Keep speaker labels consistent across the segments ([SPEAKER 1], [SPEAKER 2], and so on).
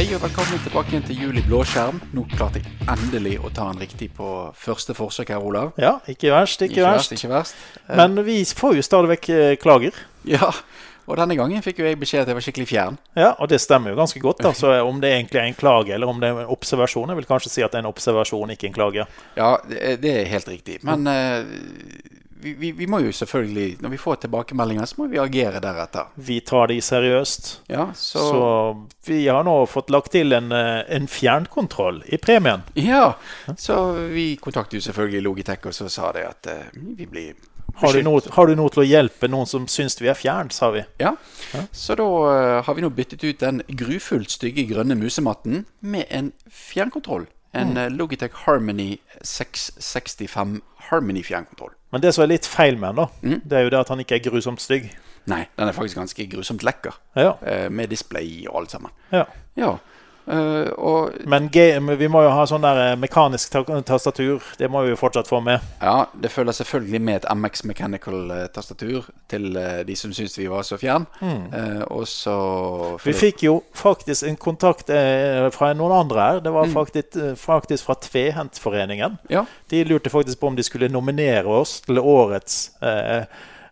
[SPEAKER 1] og velkommen tilbake igjen til Jul i blåskjerm. Nå klarte jeg endelig å ta den riktig på første forsøk her, Olav.
[SPEAKER 2] Ja, ikke verst, ikke, verst.
[SPEAKER 1] Ikke verst.
[SPEAKER 2] Men vi får jo stadig vekk eh, klager.
[SPEAKER 1] Ja, og denne gangen fikk jo jeg beskjed at jeg var skikkelig fjern.
[SPEAKER 2] Ja, og det stemmer jo ganske godt. da, så eh, om det egentlig er en klage eller om det er en observasjon. Jeg vil kanskje si at det er en observasjon, ikke en klage.
[SPEAKER 1] Ja, det det er helt riktig. Men eh, vi, vi, vi må jo selvfølgelig, når vi får tilbakemeldinger, så må vi agere deretter.
[SPEAKER 2] Vi tar de seriøst.
[SPEAKER 1] Ja,
[SPEAKER 2] Så,
[SPEAKER 1] så...
[SPEAKER 2] vi har nå fått lagt til en, eh, en fjernkontroll i premien.
[SPEAKER 1] Ja, så vi kontaktet jo selvfølgelig Logitech, og så sa de at eh, vi blir
[SPEAKER 2] Har du,
[SPEAKER 1] beskyldt.
[SPEAKER 2] noe, har du noe til å hjelpe noen som syns vi er fjernt, sa vi.
[SPEAKER 1] Ja. Så da eh, har vi nå byttet ut den grufullt stygge grønne musematten med en fjernkontroll.
[SPEAKER 2] Mm.
[SPEAKER 1] En eh, Logitech Harmony 665 Harmony fjernkontroll.
[SPEAKER 2] Men det som er litt feil med den, da, det er jo det at han ikke er grusomt stygg.
[SPEAKER 1] Nei, den er faktisk ganske grusomt lekker.
[SPEAKER 2] Ja,
[SPEAKER 1] eh, Med display og alt sammen.
[SPEAKER 2] ja.
[SPEAKER 1] Ja. eh, Og
[SPEAKER 2] Men ge- men vi må jo ha sånn der eh, mekanisk ta- tastatur. Det må vi jo fortsatt få med.
[SPEAKER 1] ja, det følger selvfølgelig med et MX Mechanical-tastatur eh, til eh, de som syns vi var så fjern. Eh, Og så
[SPEAKER 2] Mm. Vi fikk jo faktisk en kontakt eh, fra noen andre her. Det var faktisk, eh, faktisk fra Tvehentforeningen.
[SPEAKER 1] Ja.
[SPEAKER 2] De lurte faktisk på om de skulle nominere oss til årets eh,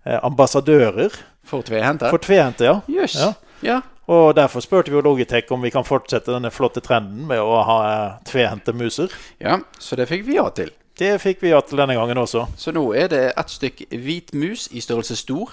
[SPEAKER 2] eh, ambassadører
[SPEAKER 1] For tvehendte?
[SPEAKER 2] for Tvehente. Ja.
[SPEAKER 1] Jøss.
[SPEAKER 2] Ja.
[SPEAKER 1] Ja.
[SPEAKER 2] Og derfor spurte vi jo Logitech om vi kan fortsette denne flotte trenden med å ha eh, tvehendte muser.
[SPEAKER 1] ja, så det fikk vi ja til.
[SPEAKER 2] Det fikk vi ja til denne gangen også.
[SPEAKER 1] Så nå er det ett stykk hvit mus i størrelse stor,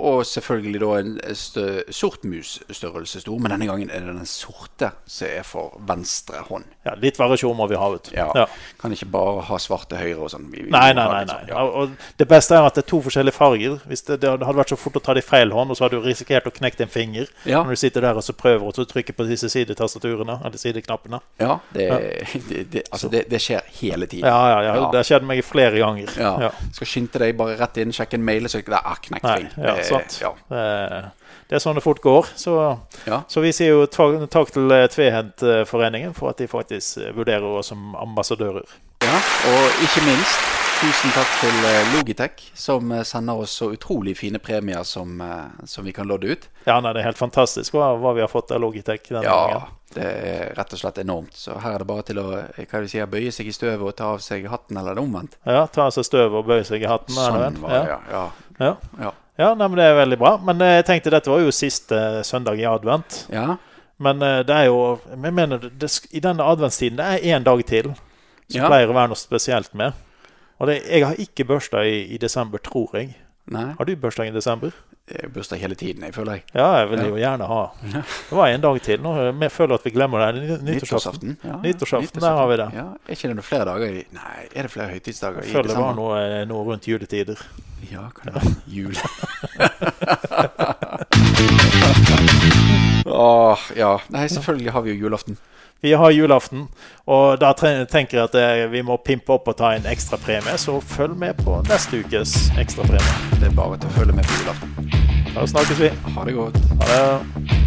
[SPEAKER 1] og selvfølgelig da en stø sort mus størrelse stor, men denne gangen er det den sorte som er for venstre hånd.
[SPEAKER 2] Ja, litt variasjon må vi ha, vet du.
[SPEAKER 1] Ja,
[SPEAKER 2] Ja.
[SPEAKER 1] Kan ikke bare ha svarte høyre og sånn. Vi- vi
[SPEAKER 2] Nei,
[SPEAKER 1] må
[SPEAKER 2] nei,
[SPEAKER 1] ha
[SPEAKER 2] nei.
[SPEAKER 1] litt
[SPEAKER 2] nei.
[SPEAKER 1] sånn,
[SPEAKER 2] Ja, Og det beste er at det er to forskjellige farger. Hvis det, det hadde vært så fort å ta det i feil hånd, og så hadde du risikert å knekke en finger
[SPEAKER 1] Ja.
[SPEAKER 2] når du sitter der og så prøver og så trykker på disse sidetastaturene eller sideknappene.
[SPEAKER 1] Ja, det, det, det, altså, det, det skjer hele tiden.
[SPEAKER 2] Ja, ja, ja.
[SPEAKER 1] Ja.
[SPEAKER 2] Det har skjedd meg flere ganger.
[SPEAKER 1] Ja.
[SPEAKER 2] Ja.
[SPEAKER 1] Skal skynde deg bare rett inn, sjekke en mail, så ah, knekk
[SPEAKER 2] Nei,
[SPEAKER 1] fingeren.
[SPEAKER 2] ja,
[SPEAKER 1] Eh,
[SPEAKER 2] sant.
[SPEAKER 1] Ja.
[SPEAKER 2] Eh, Det er sånn det fort går. Så,
[SPEAKER 1] Ja.
[SPEAKER 2] så vi sier jo ta- takk til eh, Tvehentforeningen for at de faktisk eh, vurderer oss som ambassadører.
[SPEAKER 1] Ja, og ikke minst, tusen takk til eh, Logitech, som eh, sender oss så utrolig fine premier som, eh, som vi kan lodde ut.
[SPEAKER 2] Ja, nei, det er helt fantastisk hva, hva vi har fått av Logitech denne gangen.
[SPEAKER 1] Ja, det er rett og slett enormt. Så her er det bare til å eh, hva er det du sier, bøye seg i støvet og ta av seg hatten, eller det omvendt.
[SPEAKER 2] Ja, ta av seg støvet og bøye seg i hatten. er det
[SPEAKER 1] Sånn
[SPEAKER 2] vel?
[SPEAKER 1] var det, ja.
[SPEAKER 2] Ja. Ja.
[SPEAKER 1] Ja, ja.
[SPEAKER 2] Ja, nei, men det er veldig bra. Men eh, jeg tenkte dette var jo siste søndag i advent.
[SPEAKER 1] ja.
[SPEAKER 2] Men eh, det er jo jeg mener, det, det, sk- I denne adventstiden det er én dag til som
[SPEAKER 1] Ja.
[SPEAKER 2] pleier å være noe spesielt med. Og det, jeg har ikke bursdag i, i desember, tror jeg.
[SPEAKER 1] Nei,
[SPEAKER 2] Har du bursdag i desember?
[SPEAKER 1] jeg har bursdag hele tiden, jeg føler jeg.
[SPEAKER 2] Ja, jeg vil jo gjerne ha. Det var en dag til. Nå eh, jeg føler at vi glemmer det. Ny- Nyttårsaften.
[SPEAKER 1] Ja,
[SPEAKER 2] Nyttårsaften, der har vi det.
[SPEAKER 1] Ja, Er ikke det noen flere dager i Nei, er det flere høytidsdager
[SPEAKER 2] Jeg
[SPEAKER 1] i
[SPEAKER 2] føler det var
[SPEAKER 1] desember?
[SPEAKER 2] noe, eh, noe rundt juletider.
[SPEAKER 1] Ja, kan det være jul? Åh, ja. Nei, selvfølgelig har vi jo julaften.
[SPEAKER 2] Vi har julaften, og da tre- tenker jeg at eh, vi må pimpe opp og ta en ekstrapremie. Så følg med på neste ukes ekstrapremie.
[SPEAKER 1] Det er bare til å følge med på julaften.
[SPEAKER 2] Da snakkes vi.
[SPEAKER 1] Ha det godt.
[SPEAKER 2] Ha det.